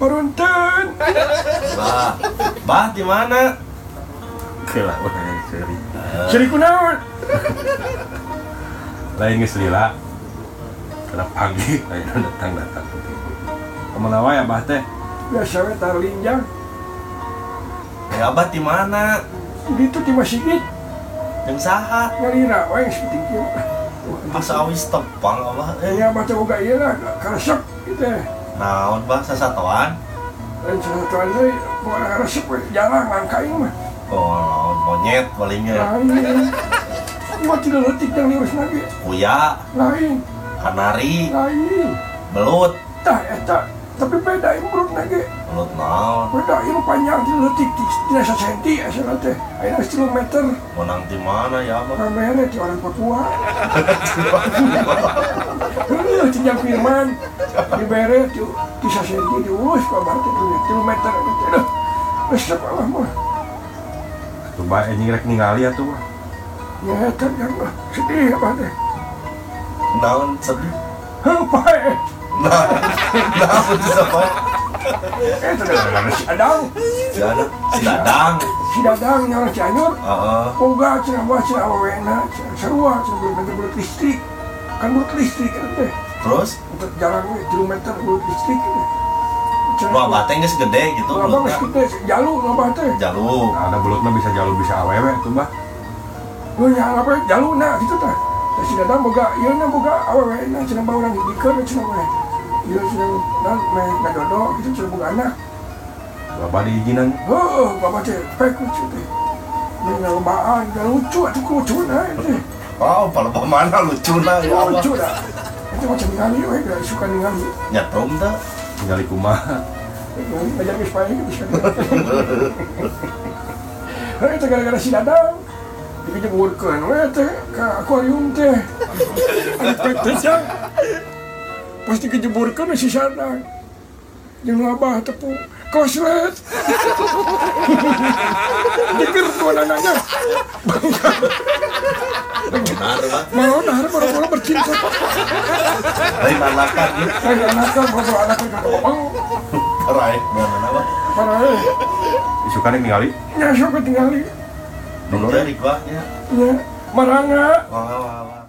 Runtun. Bah, bah gimana? Kela orang ceri. Ceri kunaon? Lain geus lila. Karena pagi ayeuna datang datang putih. Kamalawa ya bah teh. Biasa we tar linjang. Eh abah di mana? Gitu di masjid Yang saha? ngalira we penting kieu. Masa awis tepang abah. Eh, Ya baca boga ieu lah karesep gitu ya. naon bah sasatoan? Lain satuan deui boga karesep we jalan langkain mah. Oh, naon monyet palingnya. Lain. Ieu tidak letik yang lurus lagi. Kuya, Lain, kanari, lain. belut, Tah eta tapi beda imbrut lagi. belut naon? Beda ieu panjang di letik tidak sesenti asal teh. Ayeuna eh. kilometer Menang di mana ya abah? kamera eh? di orang Papua. Heuh, cenah firman dibere di di sasenti diurus ka batu kilometer eta dah. Wes sapalah mah. Tuh bah anjing rek ningali atuh bah. Ya eta yang mah sedih apa teh. Naon sedih. Heuh pae. Naon? Naon sesapoan? Eta dah ada si Adang, Si Dadang. Si Dadang. si Dadang yang orang Cianjur. Heeh. Boga cenah bae cenah awena, cenah sarua, cenah bener-bener belut listrik. Kan belut listrik kan teh. Terus Untuk jalan we kilometer belut listrik. teh. Cenah Wah, bateng geus gede gitu Abang belutnya. gede, jalur lomba teh. Jalur. Nah, ada belutnya Ah, bisa jalur bisa eh. awewe tuh bah Lu yang apa jalur nah gitu tah. Da si dadang boga ieu na boga awewe na cenah bae urang hidikeun cenah we. Ieu cenah dan me ngadodo gitu cenah boga anak. Bapak diizinan Heuh, bapak teh pek lucu teh. Ini ngalobaan, gak lucu, itu lucu nah itu. Wow, kalau pemana lucu lah ya Allah. Lucu dah. Itu macam ningali we, gak suka ningali. Nyetrum tuh. tinggal di kumah Ningali aja geus pae geus bisa. Heuh, itu gara-gara si dadang. Dipinjam urkeun we teh ke akuarium teh. Anu pek teh Jang. Pasti kejeburkan si sadang. Jeung abah tepung koslet. Dikir tuan anaknya. Benar lah. Mau dahar baru-baru bercinta. Lain anakan gitu. Saya anaknya baru anaknya kata bang. Rai, gimana bah? Para eh. ya, isukan yang ningali Nyasok ketinggali. Dulu dari gua ya. Ya. Maranga. Wah, wah, wah.